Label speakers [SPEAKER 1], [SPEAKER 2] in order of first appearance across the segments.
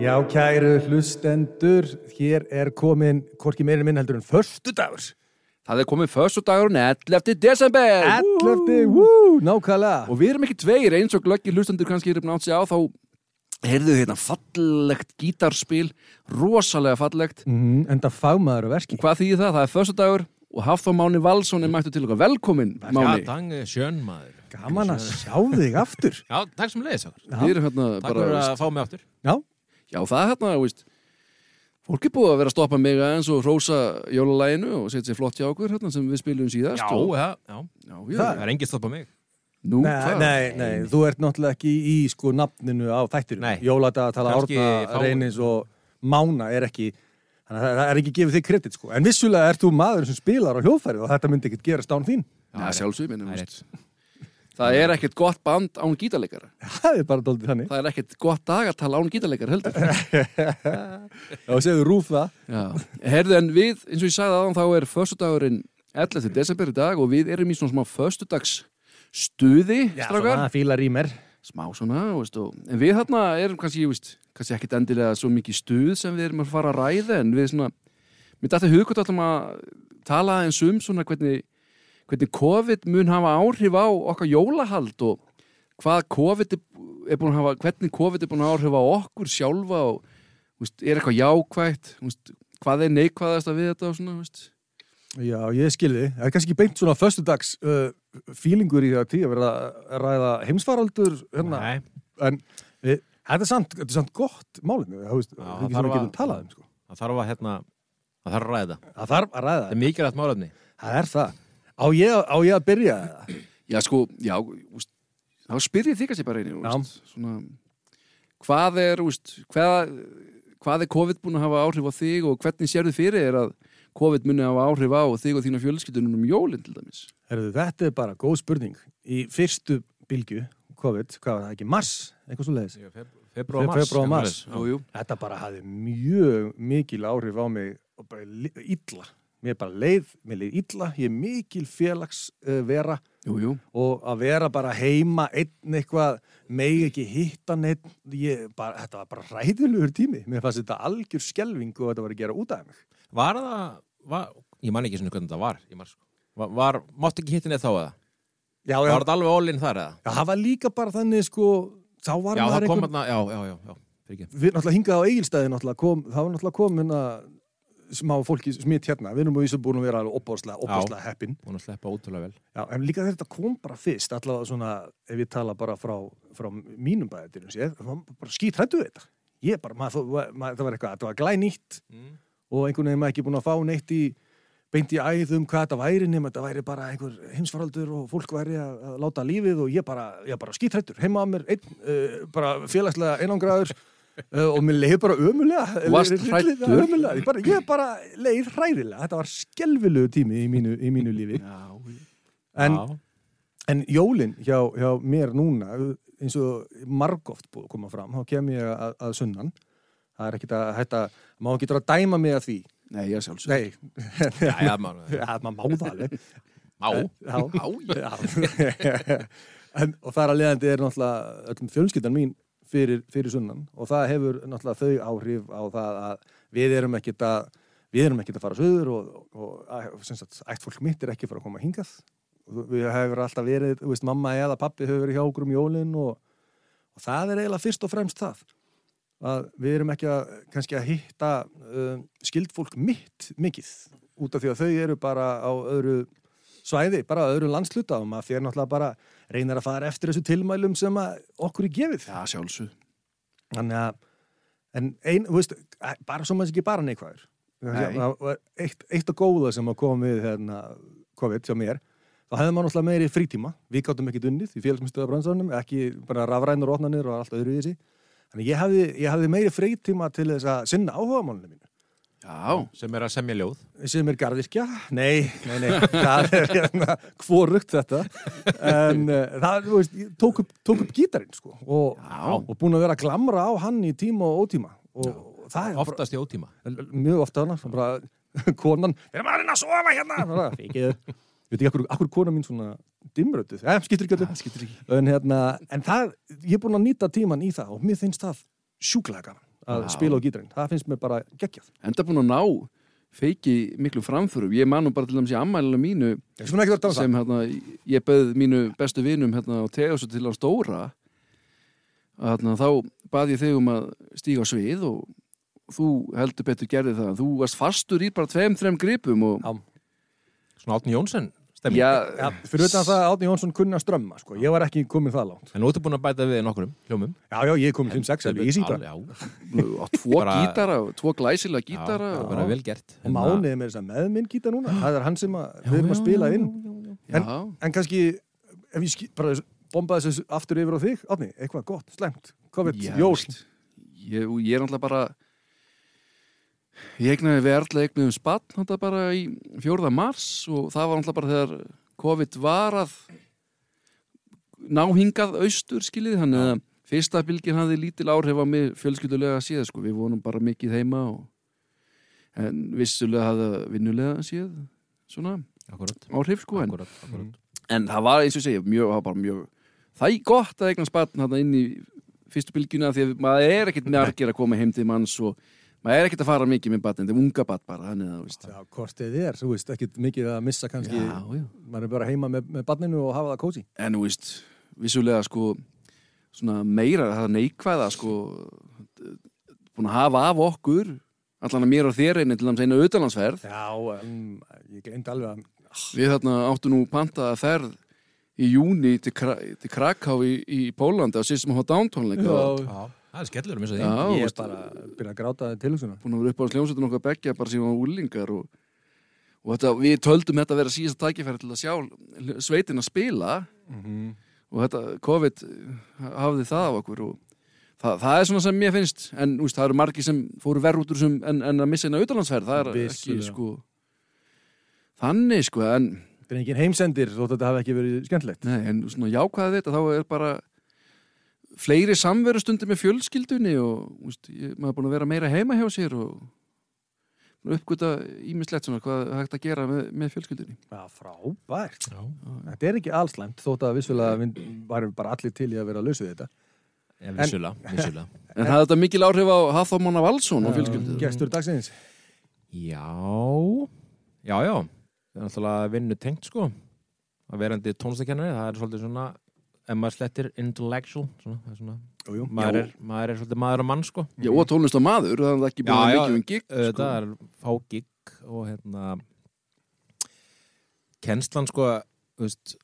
[SPEAKER 1] Já, kæru hlustendur, hér er komin hvorki meira minn heldur en förstu dagur.
[SPEAKER 2] Það er komið föstudagurinn 11. desember
[SPEAKER 1] 11. Wú, nákvæmlega.
[SPEAKER 2] Og við erum ekki tveir eins og glöggi hlustendur kannski erum nátt sig á þá heyrðu hérna fallegt gítarspil rosalega fallegt
[SPEAKER 1] Mm, en það fagmaður og verki.
[SPEAKER 2] Hvað þýðir það? Það er föstudagur og Hafþór Máni Valsson er mættu til okkar Velkomin Máni
[SPEAKER 3] Já, takk, sjön maður.
[SPEAKER 1] Gaman að sjá þig aftur.
[SPEAKER 3] Já, takk sem leiðis okkar.
[SPEAKER 2] Við erum hérna
[SPEAKER 3] Takk
[SPEAKER 2] bara
[SPEAKER 3] fyrir að
[SPEAKER 2] veist,
[SPEAKER 3] fá mig áttur.
[SPEAKER 1] Já,
[SPEAKER 2] Já það er hérna veist, Fólk er búið að vera að stoppa mig aðeins og rósa jólalæginu og setja sér flott hjá okkur hérna, sem við spilum síðast
[SPEAKER 3] Já,
[SPEAKER 2] og,
[SPEAKER 3] já, já.
[SPEAKER 2] já, já,
[SPEAKER 3] Það er engin stoppað mig.
[SPEAKER 2] Nú,
[SPEAKER 1] nei,
[SPEAKER 2] það-
[SPEAKER 1] nei, nei, þú ert náttúrulega ekki í sko nafninu á þættirinu.
[SPEAKER 3] Nei.
[SPEAKER 1] Jóladagatala
[SPEAKER 3] Kannski
[SPEAKER 1] Árna
[SPEAKER 3] fá-
[SPEAKER 1] Reynis og Mána er ekki, þannig að það er ekki gefið þig kredit sko. En vissulega ert þú maður sem spilar á hljóðfærið og þetta myndi ekkert gerast án þín.
[SPEAKER 2] Já, sjálfsög minnum
[SPEAKER 3] það er
[SPEAKER 2] Það er ekkert gott band án gítarleikara
[SPEAKER 1] Það er bara doldið þannig.
[SPEAKER 2] Það er ekkert gott dagartal án gítarleikar heldur
[SPEAKER 1] Já, segðu rúf það.
[SPEAKER 2] Já, herðu en við, eins og ég sagði aðan þá er föstudagurinn 11. desember í dag og við erum í svona smá föstudags stuði, strákar
[SPEAKER 1] fílar í mér.
[SPEAKER 2] smá svona, veist, og, en við þarna erum kannski, ég veist, kannski ekkit endilega svo mikið stuð sem við erum að fara að ræða en við svona, mér dætti hugkvæmt allum að tala eins um svona hvernig, hvernig COVID mun hafa áhrif á okkar jólahald og hvað COVID er, er búin að hafa, hvernig COVID er búin að hafa áhrif á okkur sjálfa og, veist, er eitthvað jákvætt, veist, hvað er neikvæðast að við þetta og svona, veist
[SPEAKER 1] Já, ég skilði. Það er kannski beint svona föstudags uh, fílingur í það tí að vera að ræða heimsfaraldur hérna.
[SPEAKER 3] Nei,
[SPEAKER 1] En við, þetta er samt, þetta er samt gott málinu, það veist, það er ekki
[SPEAKER 3] þarf
[SPEAKER 1] sem við
[SPEAKER 3] að-
[SPEAKER 1] getum talað um, sko.
[SPEAKER 3] það þarf að hérna, það þarf að ræða.
[SPEAKER 1] Það þarf að ræða
[SPEAKER 3] Það
[SPEAKER 1] það.
[SPEAKER 3] er mikilvægt málefni.
[SPEAKER 1] Það er það. Á ég, á ég að byrja það?
[SPEAKER 2] Já, sko, já, úst, þá spyr ég þig kannski bara einu, úst, svona, hvað er, úst, hvað, hvað er COVID búin að hafa áhrif á þig og hvernig sérðu fyrir þér að COVID muni hafa áhrif á þig og þína fjölskyldunum um jólinn til dæmis?
[SPEAKER 1] Herðu, þetta er bara góð spurning. Í fyrstu bylgju, COVID, hvað var það ekki, mars, eitthvað svo leiðis.
[SPEAKER 3] Februar og mars.
[SPEAKER 1] Febrúar, mars.
[SPEAKER 3] Já.
[SPEAKER 2] jú.
[SPEAKER 1] Þetta bara hafði mjög mikil áhrif á mig og bara li- illa. Mér bara leið, mér leið illa, ég er mikil félags uh, vera
[SPEAKER 2] Jú, jú.
[SPEAKER 1] og að vera bara heima einn eitthvað, megi ekki hitta neitt, ég, bara, þetta var bara ræðilegur tími, mér fannst þetta algjör skelving og þetta var að gera út af mig
[SPEAKER 3] Var það, var, ég man ekki svona hvernig það var. Ég man, sko. var, var mátt ekki hittin eða þá eða?
[SPEAKER 1] já, já,
[SPEAKER 3] Var það alveg ólinn þar eða?
[SPEAKER 1] já, það var líka bara þannig sko, þá var
[SPEAKER 3] Já, það
[SPEAKER 1] maður
[SPEAKER 3] kom
[SPEAKER 1] einhvern,
[SPEAKER 3] hérna, já, já, já, já. Fyrir ekki.
[SPEAKER 1] við náttúrulega hingað á eigilstæði náttúrulega kom, það var náttúrulega kom hérna smá fólki smitt hérna, við erum að vísa búin að vera alveg opbáslega, opbáslega heppin
[SPEAKER 3] Búin að sleppa ótrúlega vel.
[SPEAKER 1] Já, en líka þegar þetta kom bara fyrst, allavega svona, ef ég tala bara frá, frá mínum bæðitunum séð, það var bara skítrættu við þetta. Ég bara, maður, maður, maður, það var eitthvað, þetta var glænýtt
[SPEAKER 3] Mm.
[SPEAKER 1] og einhvern veginn maður ekki búin að fá neitt í, beint í æð um hvað þetta væri nema þetta væri bara einhver heimsfaraldur og fólk væri að, að láta lífið og ég bara, ég bara skítrættur, heima að mér, einn, uh, bara félagslega einangraður uh, og mér leið bara ömulega.
[SPEAKER 2] Þú varst hræddur?
[SPEAKER 1] Ömulega, ég bara, ég bara leið hræðilega. Þetta var skelvilegu tími í mínu, í mínu lífi. En,
[SPEAKER 3] já.
[SPEAKER 1] En jólin hjá, hjá mér núna, eins og margóft búið að koma fram, þá kem ég að, að sunnan. Það er ekkit að, þetta, má ekki að dæma mig að því.
[SPEAKER 2] Nei, já, sjálfsög.
[SPEAKER 1] Nei,
[SPEAKER 3] Já, já, maður.
[SPEAKER 1] það má það alveg.
[SPEAKER 3] Má.
[SPEAKER 1] Já.
[SPEAKER 2] Á, ég.
[SPEAKER 1] Já. en, og þar að leiðandi er náttúrulega öllum fjölskyldan mín fyrir, fyrir sunnan og það hefur náttúrulega þau áhrif á það að við erum ekkit að, við erum ekkit að fara söður og, og, og sem sagt, ætt fólk mitt er ekki að fara að koma hingað. Og Við hefur alltaf verið, þú veist, mamma eða pappi hefur verið hjá okkur um jólin og, og það er eiginlega fyrst og fremst það að við erum ekki að kannski að hitta um, skildfólk mitt mikið út af því að þau eru bara á öðru svæði, bara á öðru landsluta og maður fyrir náttúrulega bara reynar að fara eftir þessu tilmælum sem að okkur er gefið
[SPEAKER 2] Já, sjálfsög.
[SPEAKER 1] þannig að en ein, þú veist, æ, bara svo maður sé ekki bara neikvæður
[SPEAKER 2] Nei.
[SPEAKER 1] Það var eitt, eitt og góða sem að kom við hérna, COVID hjá mér þá hefði maður náttúrulega meiri frítíma við gáttum ekki dunnið í félagsmyndstöða brannsónum ekki bara rafrænur ótnanir og allt öðru í þessi þannig ég hefði, ég hefði meiri frítíma til þess að sinna áhugamálunum mínu
[SPEAKER 2] Já,
[SPEAKER 3] Sem er að semja ljóð.
[SPEAKER 1] sem er garðirkja, nei, nei, nei, það er hérna kvorugt þetta, en uh, það, þú veist, ég tók upp, tók upp gítarinn, sko, og,
[SPEAKER 2] Já.
[SPEAKER 1] og búin að vera að glamra á hann í tíma og ótíma, og, og það er
[SPEAKER 3] Oftast í ótíma.
[SPEAKER 1] bara, mjög ofta hana, bara, konan, við erum að reyna að sofa hérna, bara, fikið, ég veit ekki, akkur, akkur kona mín svona dimmrötuð, eh, skiptir ekki
[SPEAKER 2] það
[SPEAKER 1] allir,
[SPEAKER 2] skiptir ekki.
[SPEAKER 1] en hérna, en það, ég er búin að nýta tíman í það og mér finnst það sjúklega gaman, að
[SPEAKER 2] Vá.
[SPEAKER 1] spila á gítarinn, það finnst mér bara geggjað
[SPEAKER 2] enda búin að ná feiki miklu framförum ég man nú bara til dæmis í ammælilega mínu
[SPEAKER 1] ég sem ekki verið að dansa
[SPEAKER 2] sem hérna, ég beði mínu bestu vinum hérna á Teos til að stóra að hérna, þá baði ég þig um að stíga á svið og þú heldur betur gerði það þú varst fastur í bara tveim, þreim gripum og
[SPEAKER 1] Já.
[SPEAKER 3] Svona Átni Jónsson stemmi.
[SPEAKER 2] já,
[SPEAKER 1] ja, fyrir utan það að Átni Jónsson kunna strömma sko. ég var ekki komin það langt
[SPEAKER 3] En nú ertu búin að bæta við nokkurum hljómum.
[SPEAKER 1] já, já, ég er komin 5-6 alveg, ég sínt það
[SPEAKER 3] Alveg, Já,
[SPEAKER 2] og tvo
[SPEAKER 3] Bara-
[SPEAKER 2] gítara og tvo glæsilega
[SPEAKER 3] já,
[SPEAKER 2] gítara
[SPEAKER 3] það
[SPEAKER 2] og,
[SPEAKER 3] var vel gert. Hérna,
[SPEAKER 1] og Máni er með, með minn gítar núna það er hann sem að, við erum að spila inn
[SPEAKER 2] já,
[SPEAKER 1] en kannski, ef ég ský, bara bombaði þessu aftur yfir á þig, Átni, eitthvað gott, slæmt COVID,
[SPEAKER 2] já,
[SPEAKER 1] jól
[SPEAKER 2] veist, ég, og ég er náttúrulega bara ég egnaði við erðlega egnuðum spatt náttúrulega bara í 4. mars og það var náttúrulega bara þegar COVID var að náhingað austur skilið þannig að fyrsta bylgin hafði lítil áhrif á mig fjölskyldulega síða sko, við vonum bara mikið heima og en vissulega hafði vinnulega síð svona
[SPEAKER 3] Akkurat,
[SPEAKER 2] áhrif sko en,
[SPEAKER 3] akkurat, akkurat.
[SPEAKER 2] en það var eins og ég segja mjög, það var bara mjög það er gott að eignast barn þarna inn í fyrstu bylgjuna því að maður er ekkert margir að koma heim til manns og maður er ekkert að fara mikið með barn, þetta er unga barn bara þannig að þú veist
[SPEAKER 1] já, hvort þið er, þú veist, ekkit mikið að missa kannski,
[SPEAKER 2] já, já.
[SPEAKER 1] maður er bara heima með, með barninu og hafa það kósi
[SPEAKER 2] en þú veist, vissulega sko svona meira það neikvæða sko búin að hafa af okkur allan að mér og þér einnig til þess eina utanlandsferð
[SPEAKER 1] já, um, ég gleymd alveg að
[SPEAKER 2] við þarna áttu nú pantaða ferð í júni til, Kra til Kraká í, í Pólandi á sístum hótt ántónleika og
[SPEAKER 1] já,
[SPEAKER 3] Já, það er skellur um eins og því.
[SPEAKER 2] Já,
[SPEAKER 1] ég
[SPEAKER 2] veist,
[SPEAKER 1] er bara að byrja að gráta tilhugsunum
[SPEAKER 2] búin að vera upp á sljómsveitin okkar begja bara síðan á úlingar og, og þetta, við töldum þetta að vera síðasta tækifæri til að sjá hl- sveitin að spila
[SPEAKER 1] Mhm.
[SPEAKER 2] og þetta COVID hafði það af okkur og það, það er svona sem mér finnst en úst, það eru margir sem fóru verð út úr sem, en, en að missa eina auðalandsferð það er
[SPEAKER 1] Vissulega.
[SPEAKER 2] ekki sko þannig sko en,
[SPEAKER 1] þetta er engin heimsendir, þótt að þetta hafi ekki verið skemmtilegt
[SPEAKER 2] nei, en svona jákvæði þetta þá er bara fleiri samverustundi með fjölskyldunni og úst, ég, maður er búin að vera meira heima hjá sér og uppgöta ímislegt svona hvað er hægt að gera með, með fjölskyldunni
[SPEAKER 1] já, frábært
[SPEAKER 3] Já,
[SPEAKER 1] Þetta er ekki allslæmt þótt að vissulega við varum bara allir til í að vera að lausa við þetta.
[SPEAKER 3] já vissulega, vissulega.
[SPEAKER 2] en það er þetta mikil áhrif á Hafþómanna Valsson og fjölskyldunni
[SPEAKER 1] Gestur dagsins.
[SPEAKER 3] Já, já, já. Það er náttúrulega vinnu tengt, sko. Að verandi tónstakennari, það er svolítið svona, ef maður slettir intellectual, svona, það er svona,
[SPEAKER 1] Jú, jú.
[SPEAKER 3] maður er, maður er svolítið maður og mann, sko.
[SPEAKER 2] Já, og tónlist á maður, það er ekki búin að mikið um gig
[SPEAKER 3] þetta Eh, er fá gig og hérna, kennslan, sko, þú veist,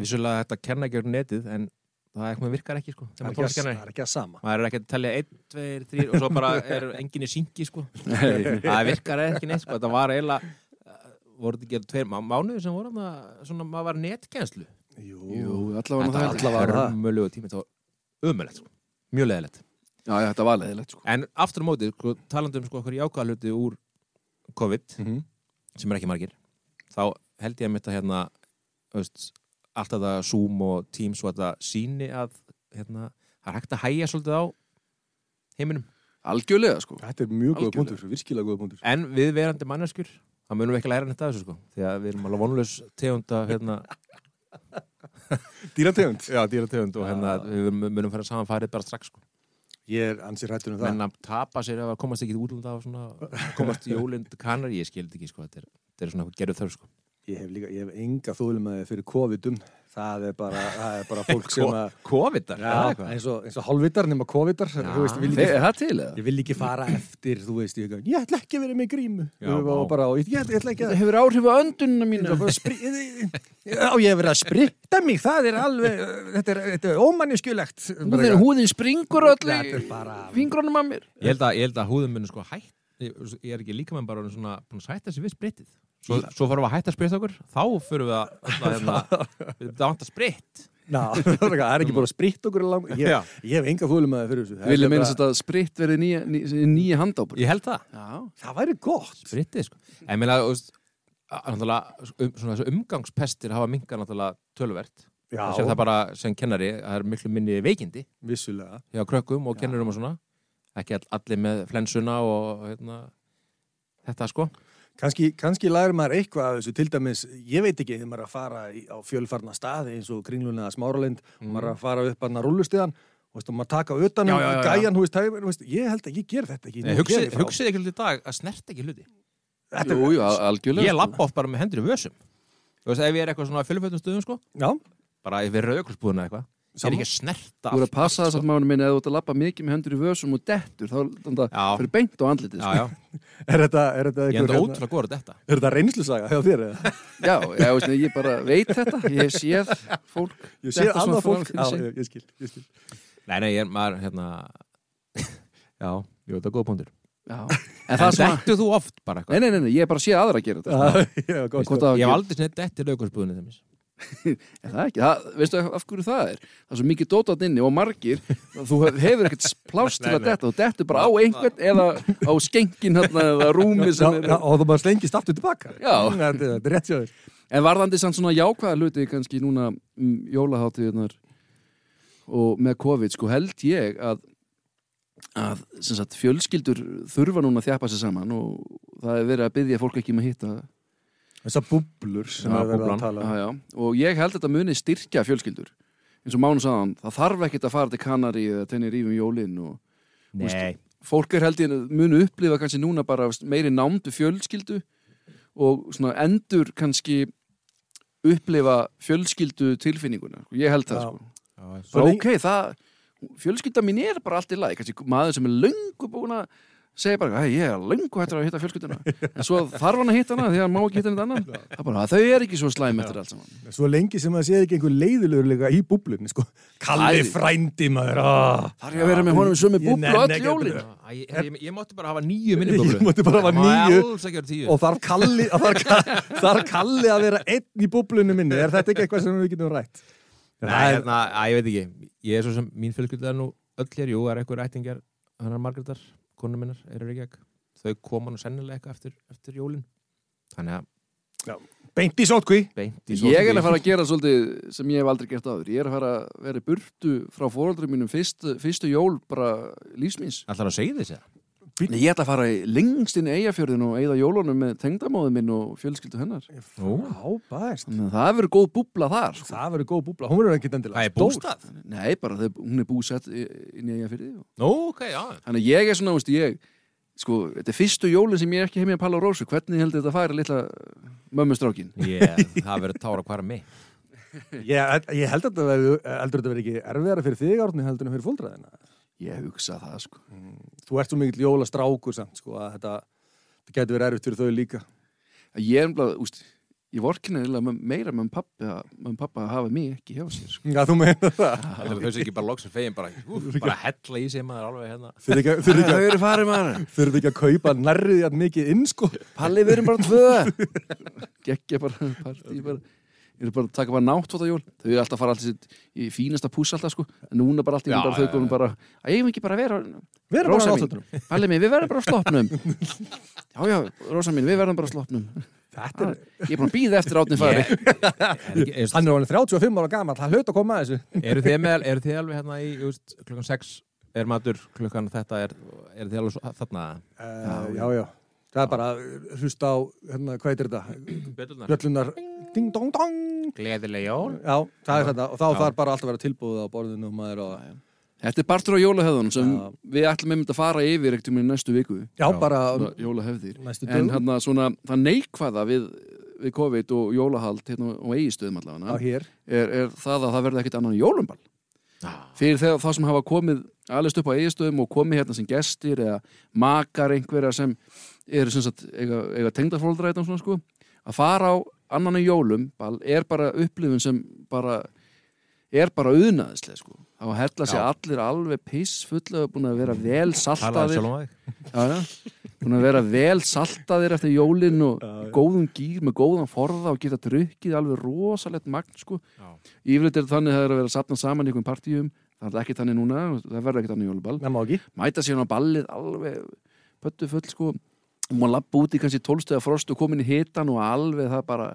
[SPEAKER 3] vissulega þetta kenna ekki um netið, en það er eitthvað virkar ekki, sko, þegar
[SPEAKER 1] Það er ekki
[SPEAKER 3] maður
[SPEAKER 1] að-
[SPEAKER 3] tónstakennari.
[SPEAKER 1] það er ekki að sama.
[SPEAKER 3] maður er ekki að tellja 1, 2, 3 og svo bara er enginn í syngi sko.
[SPEAKER 2] Nei.
[SPEAKER 3] það virkar ekki neitt sko. þetta var eiginlega uh, voru þetta ekki tveir má- mánuðir sem voru þarna, svona, maður var netkenslu
[SPEAKER 2] Jú,
[SPEAKER 1] Jú.
[SPEAKER 2] allavega
[SPEAKER 3] þetta var
[SPEAKER 2] það
[SPEAKER 1] var það.
[SPEAKER 3] hörmulegu tími þetta var umulegt sko. mjög leðilegt
[SPEAKER 2] Já, já, þetta var leðilegt sko
[SPEAKER 3] en aftur á móti, sko, talandi um sko, okkur jákvæða hluti úr COVID
[SPEAKER 1] Mhm.
[SPEAKER 3] sem er ekki margir þá held ég að mitt að hérna öst, allt þetta Zoom og Teams og þetta síni að hérna, það er hægt að hægja svolítið á heiminum
[SPEAKER 2] Algjörlega sko
[SPEAKER 1] Þetta er mjög góða
[SPEAKER 2] Algjörlega.
[SPEAKER 1] punktur, virkilega góða punktur.
[SPEAKER 3] En við verandi manneskjur, það munum við ekki læra neitt af þessu sko. Því að við erum alveg vonlaus tegund að hérna,
[SPEAKER 1] Dýrategund.
[SPEAKER 3] já, dýra tegund og hérna, við munum fara saman farið bara strax sko.
[SPEAKER 1] Ég er ansið rættur um það.
[SPEAKER 3] Menn að tapa sér ef að komast ekki útlunda af svona, komast í jólind kanar, ég skildi ekki sko, þetta er, þetta er svona gerðu þörf sko.
[SPEAKER 1] Ég hef líka, ég hef enga þólumæði fyrir COVID-um. Það er bara, það er bara fólk sem að...
[SPEAKER 3] Kovidar,
[SPEAKER 1] Já, eins og, eins og hálfvitar nema COVID-ar. Þú veist, ég vil
[SPEAKER 2] Þe-
[SPEAKER 1] ekki,
[SPEAKER 2] Er það til eða?
[SPEAKER 1] ég vil ekki fara eftir, þú veist, ég, ég ætla ekki að vera með grímu.
[SPEAKER 3] Já,
[SPEAKER 1] og
[SPEAKER 3] vá.
[SPEAKER 1] bara, og ég, ég ætla ekki að...
[SPEAKER 2] Þetta hefur áhrif á öndunina mínu
[SPEAKER 1] bara spri... Já, ég hef verið að spritta mig, það er alveg, þetta er, þetta er ómanniskjulegt.
[SPEAKER 2] Húðin, húðin springur öll
[SPEAKER 1] Þetta er bara-
[SPEAKER 2] í fingrunum að mér
[SPEAKER 3] Ég held að, ég held að húðum munum sko hætt, ég, ég er ekki líka með bara orðinn svona, búin að sætta sér við spritið. Svo, svo fórum við að hætta að sprita okkur, þá fyrir við að, að hérna, við vantar spritt.
[SPEAKER 1] Ná, það er ekki bara að spritta okkur lang... ég,
[SPEAKER 3] Já.
[SPEAKER 1] ég hef enga fólum að það fyrir þessu Það er
[SPEAKER 2] Vilja
[SPEAKER 1] bara-
[SPEAKER 2] minnst að spritt verði nýja, nýja, nýja handápur
[SPEAKER 3] Ég held það.
[SPEAKER 2] Já,
[SPEAKER 1] Það væri gott
[SPEAKER 3] Britið, sko. En ég meina, þú veist, að- náttúrulega, um, svona þessu umgangspestir hafa minkar náttúrulega töluvert.
[SPEAKER 1] Já,
[SPEAKER 3] Það sé það bara sem kennari, það er miklu minni veikindi
[SPEAKER 1] vissulega
[SPEAKER 3] hjá krökkum og kennurum og svona. Ekki all, allir með flensuna og hérna, þetta sko.
[SPEAKER 1] Kanski, kannski lærir maður eitthvað af þessu, til dæmis, ég veit ekki,
[SPEAKER 3] Mm.
[SPEAKER 1] þegar maður er að fara í, á fjölfarna staði eins og kringluna eða smáralind og maður er að fara upp hann að rúlustiðan Þú veist, og maður taka utan um
[SPEAKER 2] Já, já, já, já.
[SPEAKER 1] gæjan, þú veist, hægir, þú veist, ég held að ég ger þetta ekki.
[SPEAKER 3] Nei,
[SPEAKER 1] ég
[SPEAKER 3] Eh, hugsið
[SPEAKER 1] geri frá.
[SPEAKER 3] hugsið ekki hluti í dag að snerta ekki hluti
[SPEAKER 1] Þetta er-
[SPEAKER 2] Jú, jú, al- algjörlega
[SPEAKER 3] Ég lappa oft bara með hendur í vösum Þú veist, ef ég er eitthvað svona á fjölfjöldum stöðum, sko
[SPEAKER 1] Já,
[SPEAKER 3] bara ef við rauðkursbúðuna eitthvað Ég er
[SPEAKER 1] Sammála.
[SPEAKER 3] ekki að snerta
[SPEAKER 2] Þú verður
[SPEAKER 3] allt,
[SPEAKER 2] að passa
[SPEAKER 3] allt,
[SPEAKER 2] þess að maður minn eða þú ert að lappa mikið með hendur í vösum og dettur þá þannig að
[SPEAKER 3] Já.
[SPEAKER 2] það fyrir beint á andlitið
[SPEAKER 3] Já,
[SPEAKER 2] sko.
[SPEAKER 3] já,
[SPEAKER 1] er þetta, er þetta
[SPEAKER 3] ég enda
[SPEAKER 1] hérna-
[SPEAKER 3] ótrúlega góður þetta
[SPEAKER 1] Er þetta reynslusaga hjá þér eða?
[SPEAKER 2] já, já veist, nei, ég bara veit þetta, ég hef séð fólk
[SPEAKER 1] Ég sé
[SPEAKER 2] detta svona
[SPEAKER 1] annað
[SPEAKER 2] fram
[SPEAKER 1] fólk.
[SPEAKER 2] fyrir sig.
[SPEAKER 1] Já, ég, ég skil, ég skil.
[SPEAKER 3] Nei, nei, ég er maður, hérna Já, ég veit að góða bóndur
[SPEAKER 2] Já. en það
[SPEAKER 3] En
[SPEAKER 2] sem að
[SPEAKER 3] dettu þú oft bara
[SPEAKER 2] nei,
[SPEAKER 3] eitthvað
[SPEAKER 2] nei, nei, nei, ég hef bara séð aðra að gera þetta sko.
[SPEAKER 1] Já, já, góð
[SPEAKER 2] Hvort
[SPEAKER 1] stóð.
[SPEAKER 2] að-
[SPEAKER 3] Ég hef aldrei snett detti rauðkursbúðuna þeim
[SPEAKER 2] En það ekki, það, veistu af hverju það er? Það er svo mikið dótat inni og margir þú hef- hefur ekkert plást til
[SPEAKER 3] Nei,
[SPEAKER 2] að
[SPEAKER 3] nei.
[SPEAKER 2] detta, þú dettur bara á einhvern eða á skengin hérna eða rúmi
[SPEAKER 1] Já,
[SPEAKER 2] sem
[SPEAKER 1] já,
[SPEAKER 2] er
[SPEAKER 1] og þú bara slengist aftur tilbaka.
[SPEAKER 2] Já.
[SPEAKER 1] Þetta er- þetta er rétt sjáður.
[SPEAKER 2] En varðandi samt svona jákvæða hluti kannski núna um jólaháttíðunar og með COVID sko held ég að að sem sagt, fjölskyldur þurfa núna að þjapa sér saman og það er verið að byggja fólk ekki um að hitta
[SPEAKER 1] Þessar búblur sem
[SPEAKER 3] Já,
[SPEAKER 1] er verið að
[SPEAKER 3] búblan.
[SPEAKER 1] tala
[SPEAKER 2] já,
[SPEAKER 1] um.
[SPEAKER 2] já. og ég held þetta muni styrkja fjölskyldur eins og Mánu sagðan, það þarf ekkert að fara til Kanari eða tennir rífum jólin og
[SPEAKER 3] Nei,
[SPEAKER 2] fólk er held ég munu upplifa kannski núna bara meiri námdu fjölskyldu og svona endur kannski upplifa fjölskyldu tilfinninguna Sko, ég held það
[SPEAKER 1] Já.
[SPEAKER 2] sko.
[SPEAKER 3] já,
[SPEAKER 1] Svo
[SPEAKER 2] Bara,
[SPEAKER 1] lengi-
[SPEAKER 2] ok, það, fjölskylda mín er bara allt í lagi kannski maður sem er löngu búin að segja bara, hei, ég er löngu hættur að hitta fjölskylduna en svo þarf hann að hitta hana því að hann má ekki hitta henni annan það er bara, þau er ekki svo slæm eftir allt saman
[SPEAKER 1] Svo lengi sem það sé ekki einhver leiðilegurleika í búblunni, sko. Kalli
[SPEAKER 2] Æ.
[SPEAKER 1] frændi maður, Ah. aah.
[SPEAKER 2] þarf ég að vera með honum í sömu
[SPEAKER 1] Ég
[SPEAKER 2] búblu
[SPEAKER 1] nenni
[SPEAKER 2] öll
[SPEAKER 1] ekki að
[SPEAKER 2] jólin
[SPEAKER 1] byrja.
[SPEAKER 3] Æ, ég, ég, ég mátti bara hafa nýju minni
[SPEAKER 1] Ég mátti bara hafa níu.
[SPEAKER 3] alls ekki vera tíu
[SPEAKER 1] Og þarf kalli, og þarf, ka- þarf kalli að vera einn í búblunni minni. Er þetta ekki eitthvað sem við getum rætt?
[SPEAKER 3] Nei, hérna, að, ég veit ekki Ég er svo sem, mín fjölskylda er nú öll hér Jú, það er einhver ættingar, hann er Margreðar Konur minnar eru ekki ekki Þau koma nú sennilega eitthvað eftir, eftir jólin Þannig að
[SPEAKER 1] Beint í sótkví.
[SPEAKER 3] beint í
[SPEAKER 2] Ég er
[SPEAKER 3] sótkví.
[SPEAKER 2] að fara að gera svolítið sem ég hef aldrei gert áður. Ég er að fara að vera í burtu frá fóröldrum mínum fyrst, fyrstu jól bara lífsmins.
[SPEAKER 3] Ætlarðu að segja þess að
[SPEAKER 2] Nei, ég ætla að fara í lengst inn í eigafjörðin og eigða jólunum með tengdamóðum minn og fjölskyldu hennar.
[SPEAKER 3] Nú.
[SPEAKER 1] Frábært.
[SPEAKER 2] Þannig að það verður góð búbla þar. Sko.
[SPEAKER 1] Það verður góð búbla. Hún verður ekki endilega.
[SPEAKER 3] Það er
[SPEAKER 1] stór.
[SPEAKER 3] bústað
[SPEAKER 2] Nei, bara þau, hún er búsett í- inn í eigafjörði. og-
[SPEAKER 3] Nú, ok, já
[SPEAKER 2] Þannig að ég er svona, veist, ég, sko, þetta er fyrstu jólin sem ég er ekki heim í að palla á rósu. Hvernig heldur þetta að fara litla mömmustrákin?
[SPEAKER 3] yeah, Það verður tára hvar að mig
[SPEAKER 1] Ég, ég held að þetta verður, heldur þetta verður ekki erfiðara fyrir þig árni heldur en fyrir fóldraðina.
[SPEAKER 2] Ég hugsa það, sko.
[SPEAKER 1] Þú ert svo mikill jólastrákur samt, sko, að þetta, þetta getur verið erfitt fyrir þau líka.
[SPEAKER 2] að ég er umlað, úst, ég vorkina eiginlega með- meira með pappi að með pappa að hafa mig ekki hjá sér sko.
[SPEAKER 1] Já, þú meina það.
[SPEAKER 3] Það er þess ekki bara loksum fegin bara, úf, bara hella í sig maður alveg hérna
[SPEAKER 1] Þurfið ekki, þurfið ekki,
[SPEAKER 2] Þau eru farið maður,
[SPEAKER 1] þurfið ekki að kaupa nærrið jætt mikið inn, sko.
[SPEAKER 2] Palli við erum bara tvö Gekkja bara, um partí bara Ég er bara að taka bara náttvota jól Þau eru alltaf að fara alltaf sitt í fínasta púss alltaf sko En núna bara alltaf,
[SPEAKER 3] Já,
[SPEAKER 2] bara,
[SPEAKER 3] já,
[SPEAKER 2] þau komum
[SPEAKER 3] já.
[SPEAKER 2] bara Að ég hef ekki bara að vera
[SPEAKER 1] Við erum bara
[SPEAKER 2] Rósa
[SPEAKER 1] á
[SPEAKER 2] mín.
[SPEAKER 1] náttúrunum.
[SPEAKER 2] Palli mín, við verðum bara á sloppnum Já, já, Rósa mín, við verðum bara á sloppnum
[SPEAKER 1] Þetta
[SPEAKER 2] ah, Ég er búin að býða eftir átni fari
[SPEAKER 3] Er ekki-
[SPEAKER 1] er, hann er alveg 35 ára gammal, hann hlaut að koma að þessu.
[SPEAKER 3] Eru þið, með, eru þið alveg hérna í just, klukkan 6 er matur, klukkan þetta er, eru þið alveg svo, þarna
[SPEAKER 1] Uh, já, já. Það er bara að hlusta á, hérna, hvað heitir þetta?
[SPEAKER 3] Bjöllunar
[SPEAKER 1] Bjöllunar, ding, dong, dong.
[SPEAKER 3] Gleðileg jól
[SPEAKER 1] Já, það er þetta. Og þá
[SPEAKER 3] Já.
[SPEAKER 1] þarf bara alltaf að vera tilbúið á borðinu og maður og...
[SPEAKER 2] Þetta er partur á jólahöðunum sem
[SPEAKER 1] Já.
[SPEAKER 2] við ætlum einmitt að fara yfir ekkert um í næstu viku
[SPEAKER 1] Já,
[SPEAKER 3] Já.
[SPEAKER 1] bara um
[SPEAKER 2] Svona Jólahefðir
[SPEAKER 1] næstu
[SPEAKER 2] En
[SPEAKER 1] dögum.
[SPEAKER 2] hann svona, það neikvæða við, við COVID og jólahald hérna á eigistöðum
[SPEAKER 1] Á
[SPEAKER 2] allavega
[SPEAKER 1] hér.
[SPEAKER 2] er, er það að það verði ekkit annan jólamball fyrir þegar þá sem hafa komið alveg upp á eigistöðum og komið hérna sem gestir eða makar einhverja sem eru sem sagt eiga, eiga tengdafóldra eitthvað svona sko að fara á annan en jólum ball, er bara upplifun sem bara er bara uðnaðislega sko þá hella sér
[SPEAKER 3] Já.
[SPEAKER 2] allir alveg piss fulla búin að vera vel
[SPEAKER 3] Talaði
[SPEAKER 2] saltaðir
[SPEAKER 3] sjálf um þig
[SPEAKER 2] já, já. búin að vera vel saltaðir eftir jólinn og
[SPEAKER 1] Já,
[SPEAKER 2] í
[SPEAKER 1] já.
[SPEAKER 2] góðum gýr með góðan forða og geta drukkið alveg rosalegt magn sko.
[SPEAKER 3] Já.
[SPEAKER 2] yfirleitt er það þannig að það er að vera sapna saman í einhverjum partíum, það er ekki þannig núna það verður ekki þannig jóluball,
[SPEAKER 1] Nefna ekki.
[SPEAKER 2] mæta síðan á ballið alveg pöttu full sko og maður lappa út í kannski tólstöða frost og komin í hitan og alveg það bara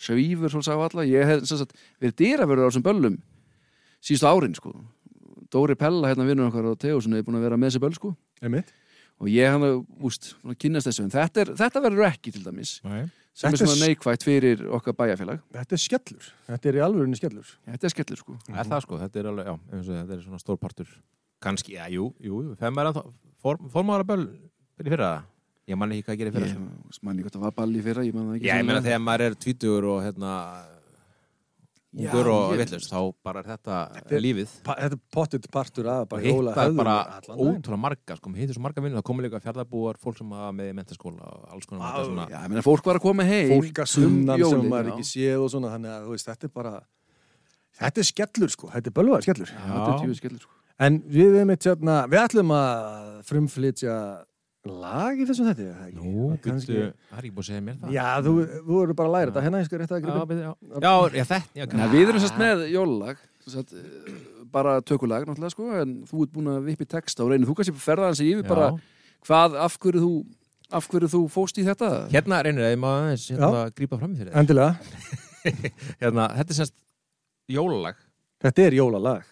[SPEAKER 2] svífur svolítið á alla, ég hef sem sagt, við dýraverður á þessum böllum síðustu árin sko, Dóri Pella hérna vinnur okkar á Teosun er búin að vera með þessi böll sko
[SPEAKER 1] Einmitt.
[SPEAKER 2] og ég hann að, úst, búin að kynnast þessu en þetta, er, þetta verður ekki til dæmis sem er
[SPEAKER 1] Þetta er
[SPEAKER 2] svona
[SPEAKER 1] s-
[SPEAKER 2] neikvægt fyrir okkar bæjarfélag
[SPEAKER 1] Þetta er skellur, þetta er í alvörinni skellur
[SPEAKER 2] þetta er skellur sko
[SPEAKER 3] Er það sko, þetta er alveg, já, eins og þetta er svona stór partur. Kanski, já, jú, jú, jú, fem er að formára böl fyrir fyrra. Ég man ekki hvað að gera fyrir
[SPEAKER 2] ég
[SPEAKER 3] þessu.
[SPEAKER 1] sko.
[SPEAKER 2] man ekki hvað það var balli fyrra ég man það ekki
[SPEAKER 3] Já, ég meina
[SPEAKER 2] svona-
[SPEAKER 3] þegar maður er tvítugur og hérna,
[SPEAKER 2] Já,
[SPEAKER 3] ungur og
[SPEAKER 2] ég-
[SPEAKER 3] villust, þá bara er þetta
[SPEAKER 1] er-
[SPEAKER 3] lífið.
[SPEAKER 1] pa, Þetta er pottitt partur af bara
[SPEAKER 3] Bara hitta
[SPEAKER 1] hjóla hefðum
[SPEAKER 3] bara
[SPEAKER 1] allan daginn.
[SPEAKER 3] ótrúlega marga, sko, maður hittir svo marga vinnur, það komið líka fjallabúar, fólk sem hafa með í mentaskóla og alls konar marga svona.
[SPEAKER 2] Já, ég meina fólk var að koma heim um
[SPEAKER 1] fólk að sunnan
[SPEAKER 2] jólin,
[SPEAKER 1] sem maður
[SPEAKER 2] já.
[SPEAKER 1] ekki séð og svona þannig að þú veist, þetta er bara þetta er skellur sko, þetta er bölvaðar skellur
[SPEAKER 2] Já, þetta er tjóðu skellur sko
[SPEAKER 1] en við erum eitt hérna, við ætlum að frumflytja lag í þessum þetta er það ekki?
[SPEAKER 3] Nú,
[SPEAKER 1] Kannski-
[SPEAKER 3] byrju, það er ég búið að segja mér það.
[SPEAKER 1] Já, þú, þú eru bara að læra þetta hérna, ég skal rétt að
[SPEAKER 3] já,
[SPEAKER 1] grípa
[SPEAKER 3] byrju, já. Já, já, þetta, já,
[SPEAKER 2] Nei, við erum sérst með jólulag sérst, eh, bara tökulag náttúrulega sko en þú ert búin að vippi texta og reynir þú kannski ferða hans yfir bara hvað, af hverju þú af hverju þú fóst í þetta
[SPEAKER 3] Hérna reynir að ég maður aðeins hérna, grípa fram í fyrir
[SPEAKER 1] endilega,
[SPEAKER 3] þér hérna, Þetta er semst jólalag
[SPEAKER 1] þetta er jólalag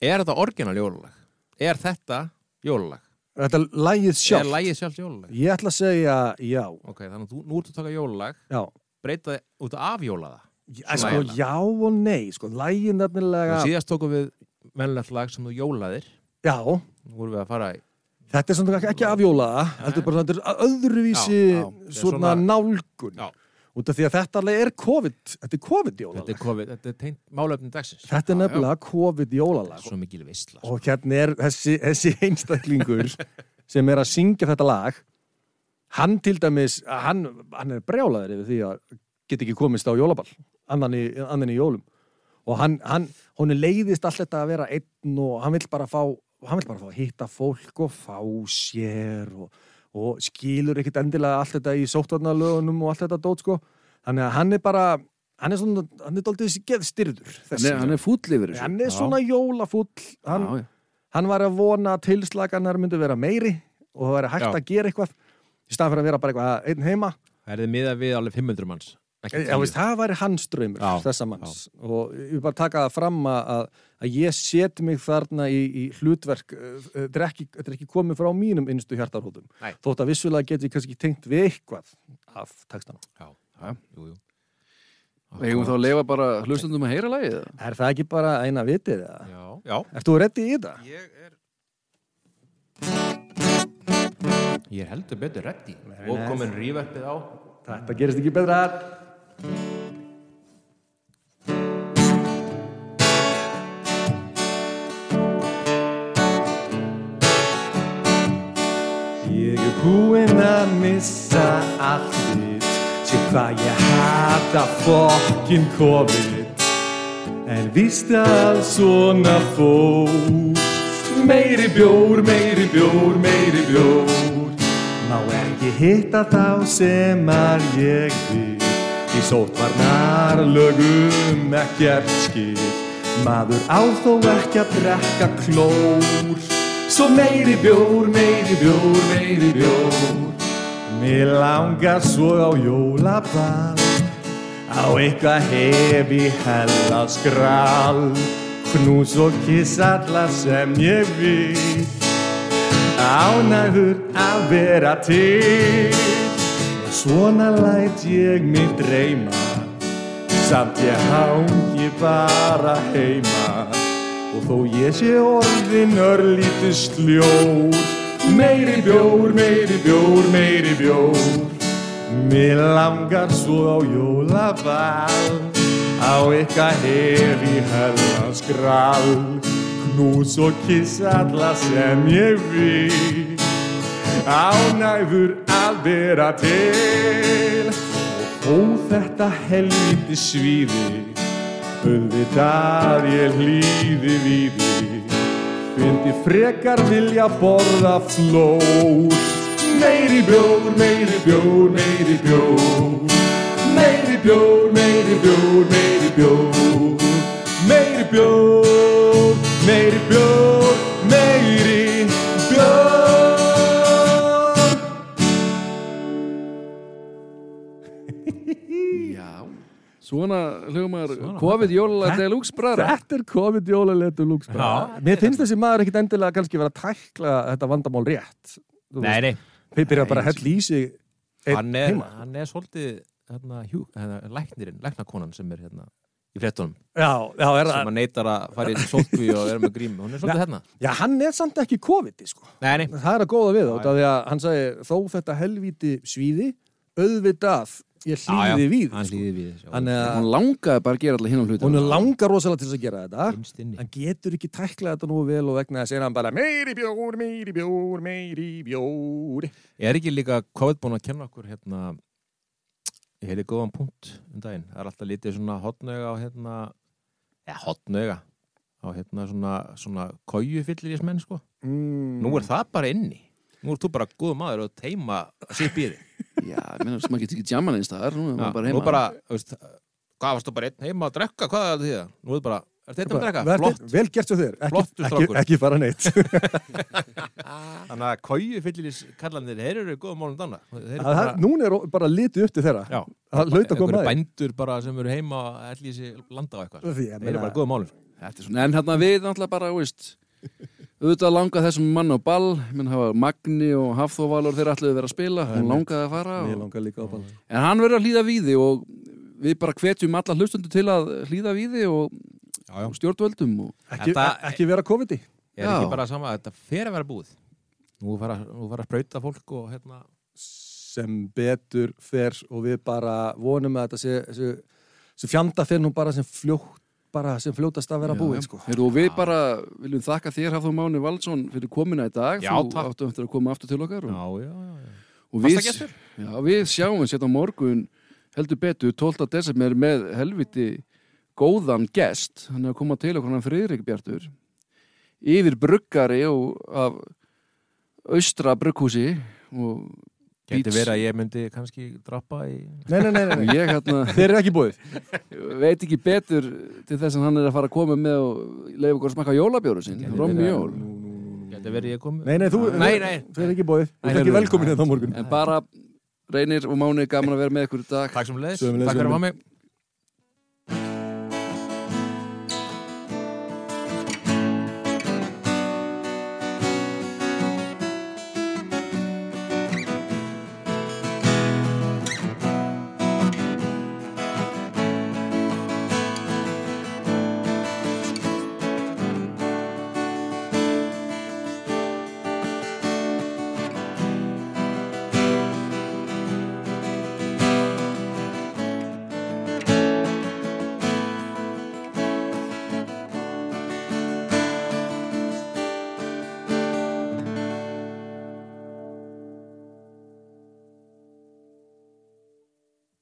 [SPEAKER 3] Er þetta orginal jólalag? Er þetta jólalag?
[SPEAKER 1] þetta er lagið
[SPEAKER 3] Er
[SPEAKER 1] sjálf
[SPEAKER 3] lagið sjálft jólalag?
[SPEAKER 1] ég ætla að segja já,
[SPEAKER 3] Ok, þannig að þú, nú ertu að taka jólalag
[SPEAKER 1] já
[SPEAKER 3] breyta þið út af jólaða
[SPEAKER 1] Æ, sko,
[SPEAKER 3] Lagið.
[SPEAKER 1] já og nei, sko, lagið nefnilega
[SPEAKER 3] Síðast tókum við mennlegt lag sem þú jólaðir
[SPEAKER 1] já,
[SPEAKER 3] Nú vorum við að fara í
[SPEAKER 1] þetta er svona ekki afjóla þetta er bara þetta er öðruvísi
[SPEAKER 3] Já, já.
[SPEAKER 1] svona
[SPEAKER 3] Svona-
[SPEAKER 1] nálgun
[SPEAKER 3] Já.
[SPEAKER 1] út af því að þetta alveg er COVID þetta er COVID-jólalag
[SPEAKER 3] Þetta
[SPEAKER 1] þetta
[SPEAKER 3] er COVID, þetta er tengt málefni dagsins
[SPEAKER 1] er, nefnilega COVID-jólalag
[SPEAKER 3] Svo mikil veistla sko.
[SPEAKER 1] og hérna er þessi, þessi einstaklingur sem er að syngja þetta lag hann til dæmis hann, hann er brjálaður yfir því að get ekki komist á jólaball annan í, annan í jólum og hann, hann, hún leiðist allt þetta að vera einn og hann vill bara fá hann vill bara fá að hitta fólk og fá sér og, og skilur ekkit endilega allt þetta í sóttvarnalögunum og allt þetta dót sko þannig að hann er bara hann er svona, hann er daldið geðstyrður
[SPEAKER 2] hann er, hann er fúll yfir þessu
[SPEAKER 1] hann er svona jólafull hann,
[SPEAKER 2] Já, já.
[SPEAKER 1] hann var að vona að tilslakanar myndu vera meiri og það væri hægt
[SPEAKER 3] Já.
[SPEAKER 1] að gera eitthvað í staðan fyrir að vera bara eitthvað einn heima
[SPEAKER 3] Það er þið miðað við alveg 500 manns ekki
[SPEAKER 1] Já,
[SPEAKER 3] tíu.
[SPEAKER 1] veist, það væri hans draumur
[SPEAKER 3] Já,
[SPEAKER 1] þessa manns og ég vil bara taka það fram að- að, að ég set mig þarna í, í hlutverk uh, uh, þetta er, ekki, þetta er ekki komið frá mínum innstu hjartarhóðum
[SPEAKER 3] Nei.
[SPEAKER 1] þótt að vissulega geti ég kannski tengt við eitthvað af textana
[SPEAKER 3] Já,
[SPEAKER 2] Já.
[SPEAKER 3] jú, jú
[SPEAKER 2] eigum við þá að leifa bara hlustandum að heyra lagið eða?
[SPEAKER 1] Er það ekki bara eina vitið? eða?
[SPEAKER 3] Já, já
[SPEAKER 1] Ert þú reddi í þetta?
[SPEAKER 3] Ég er Ég er heldur betur reddi og komin rýverpið á
[SPEAKER 1] Þetta gerist ekki betra Ég er búinn að missa allt þitt Sér hvað ég hata fokkin COVID En víst að svona fór Meiri bjór, meiri bjór, meiri bjór Má ekki hitta þá sem að ég vil Í sótvarnar lögum ekkert skil Maður á þó ekki að drekka klór Svo meiri bjór, meiri bjór, meiri bjór Mér langar svo á jólaball Á eitthvað hefi hella skrall Knús og kiss alla sem ég vil Ánæður að vera til Og svona læt ég mig dreyma Samt ég hangi bara heima Og þó ég sé orðin örlítið sljór Meiri bjór, meiri bjór, meiri bjór Mér langar svo á jólaball Á eitthvað hef í hellans grall Knús og kiss alla sem ég vil Ánæfur að vera til Og ó þetta helviti svíði Auðvitað ég hlýði víði Fyndi frekar vilja borða flór Meiri bjór, meiri bjór, meiri bjór Meiri bjór, meiri bjór, meiri bjór Meiri bjór, meiri bjór, meiri bjór
[SPEAKER 2] já, svona hlugum maður COVID jólulag deluxe bræðra
[SPEAKER 1] Þetta er COVID-jólalegu lúksbræð Mér finnst þessi maður ekkit endilega kannski vera að tækla þetta vandamál rétt
[SPEAKER 3] Nei, nei
[SPEAKER 1] Við byrja bara að hella í sig einn
[SPEAKER 3] hann er,
[SPEAKER 1] heima.
[SPEAKER 3] hann er svolítið hérna, hjú, hérna, læknirinn, læknakonan sem er hérna í fréttunum,
[SPEAKER 1] já, já, er
[SPEAKER 3] sem
[SPEAKER 1] það
[SPEAKER 3] að neytar að fara í sótkví og vera með grím, hún er svolítið hérna
[SPEAKER 1] já, hann er samt ekki COVID sko.
[SPEAKER 3] Nei, nei,
[SPEAKER 1] það er að góða við
[SPEAKER 3] Já,
[SPEAKER 1] þá því að hann sagði þó þetta helvíti svíði auðvitað ég hlýði við
[SPEAKER 3] hann
[SPEAKER 1] sko.
[SPEAKER 3] hlýði við þessu
[SPEAKER 1] hann er,
[SPEAKER 2] Hún langaði bara að gera allir hinn á hlutum
[SPEAKER 1] hún er langar rosalega til þess að gera þetta
[SPEAKER 3] finnst inni
[SPEAKER 1] hann getur ekki tæklað þetta nú vel og vegna þess er hann bara meiri bjór, meiri bjór, meiri bjór
[SPEAKER 3] Er ekki líka COVID búin að kenna okkur hérna ég heiti góðan punkt um daginn, það er alltaf lítið svona hotnauga á hérna eða hotnauga á hérna svona, svona kójufyllir í smenn sko
[SPEAKER 1] mm.
[SPEAKER 3] Nú er það bara inni Nú er þú bara góð maður og teima sér býði
[SPEAKER 2] Já, ég meina, sem maður getur ekki djaman einn staðar Nú er maður bara
[SPEAKER 3] Nú
[SPEAKER 2] heima
[SPEAKER 3] bara, þú veist hvað varst þú bara einn heima að drekka, hvað er þetta því Nú er bara, er þetta að drekka?
[SPEAKER 1] Vel-
[SPEAKER 3] Flott
[SPEAKER 1] vel gert hjá þér, ekki,
[SPEAKER 3] Flottur
[SPEAKER 1] ekki,
[SPEAKER 3] strákur.
[SPEAKER 1] ekki fara neitt það
[SPEAKER 3] Þannig að kójufyllir kallanir, þeir eru góða málum dánar Þeir eru
[SPEAKER 1] er- núna er bara litið upp til þeirra
[SPEAKER 3] Já,
[SPEAKER 1] það hlaut að koma
[SPEAKER 3] einhverjir
[SPEAKER 1] að því.
[SPEAKER 3] bændur bara sem eru heima að ætli þessi landa á eitthvað sko.
[SPEAKER 1] Því, ég
[SPEAKER 3] Þeir eru
[SPEAKER 1] meina-
[SPEAKER 3] bara góða málum
[SPEAKER 2] Þetta er svona, en hérna við náttúrulega bara, þú veist auðvitað langað þessum mann á ball menn hafa Magni og Hafþóvalur þeir ætluðu að vera að spila, hún langaði að fara
[SPEAKER 1] Mér
[SPEAKER 2] og...
[SPEAKER 1] langar líka á balla.
[SPEAKER 2] en hann verður að hlýða víði og við bara hvetjum alla hlustundu til að hlýða víði og
[SPEAKER 3] já, já.
[SPEAKER 2] og stjórnvöldum og...
[SPEAKER 1] Ekki, e-
[SPEAKER 3] Þetta-
[SPEAKER 1] ekki vera COVID-i
[SPEAKER 3] Er
[SPEAKER 2] Já.
[SPEAKER 3] ekki bara sama að þetta fer að vera búið Nú fara, nú fara að sprauta fólk og hérna
[SPEAKER 1] sem betur fer og við bara vonum að þetta sé, sé, sé fjanda fer nú bara sem fljótt bara sem fljótast að vera búið sko.
[SPEAKER 2] Heyrðu, og við bara viljum þakka þér Hafþór Máni Valdsson fyrir komina í dag
[SPEAKER 3] Já,
[SPEAKER 2] þú
[SPEAKER 3] takk.
[SPEAKER 2] áttu eftir að koma aftur til okkar og,
[SPEAKER 3] Já, já, já
[SPEAKER 2] og
[SPEAKER 3] Fasta
[SPEAKER 2] við,
[SPEAKER 3] gestur.
[SPEAKER 2] já, við sjáum sérna morgun heldur betur 12. desember með helviti góðan gest hann er að koma til okkar hann Friðrik Bjartur yfir bruggari og af austra brugghúsi og
[SPEAKER 3] Geti
[SPEAKER 2] Beats.
[SPEAKER 3] verið að ég myndi kannski drappa í
[SPEAKER 1] Nei, nei, nei, nei, nei.
[SPEAKER 2] og ég hérna
[SPEAKER 1] þeir eru ekki búið
[SPEAKER 2] veit ekki betur til þess að hann er að fara að koma með og leiða okkur að smakka jólabjóru sinn,
[SPEAKER 3] Gæti verið að-
[SPEAKER 2] Romjól
[SPEAKER 3] Geti verið ég komið
[SPEAKER 1] Nei, nei, þú,
[SPEAKER 3] Nei, nei.
[SPEAKER 1] þeir eru ekki búið Þú ert
[SPEAKER 3] heyrðu.
[SPEAKER 1] ekki velkomin hérna á morgun
[SPEAKER 2] En bara reynir og mánu gaman að vera með ykkur í dag
[SPEAKER 3] Takk sem leðis,
[SPEAKER 1] Sömuleiðis,
[SPEAKER 3] takk fyrir að
[SPEAKER 1] Jón
[SPEAKER 3] hafa mig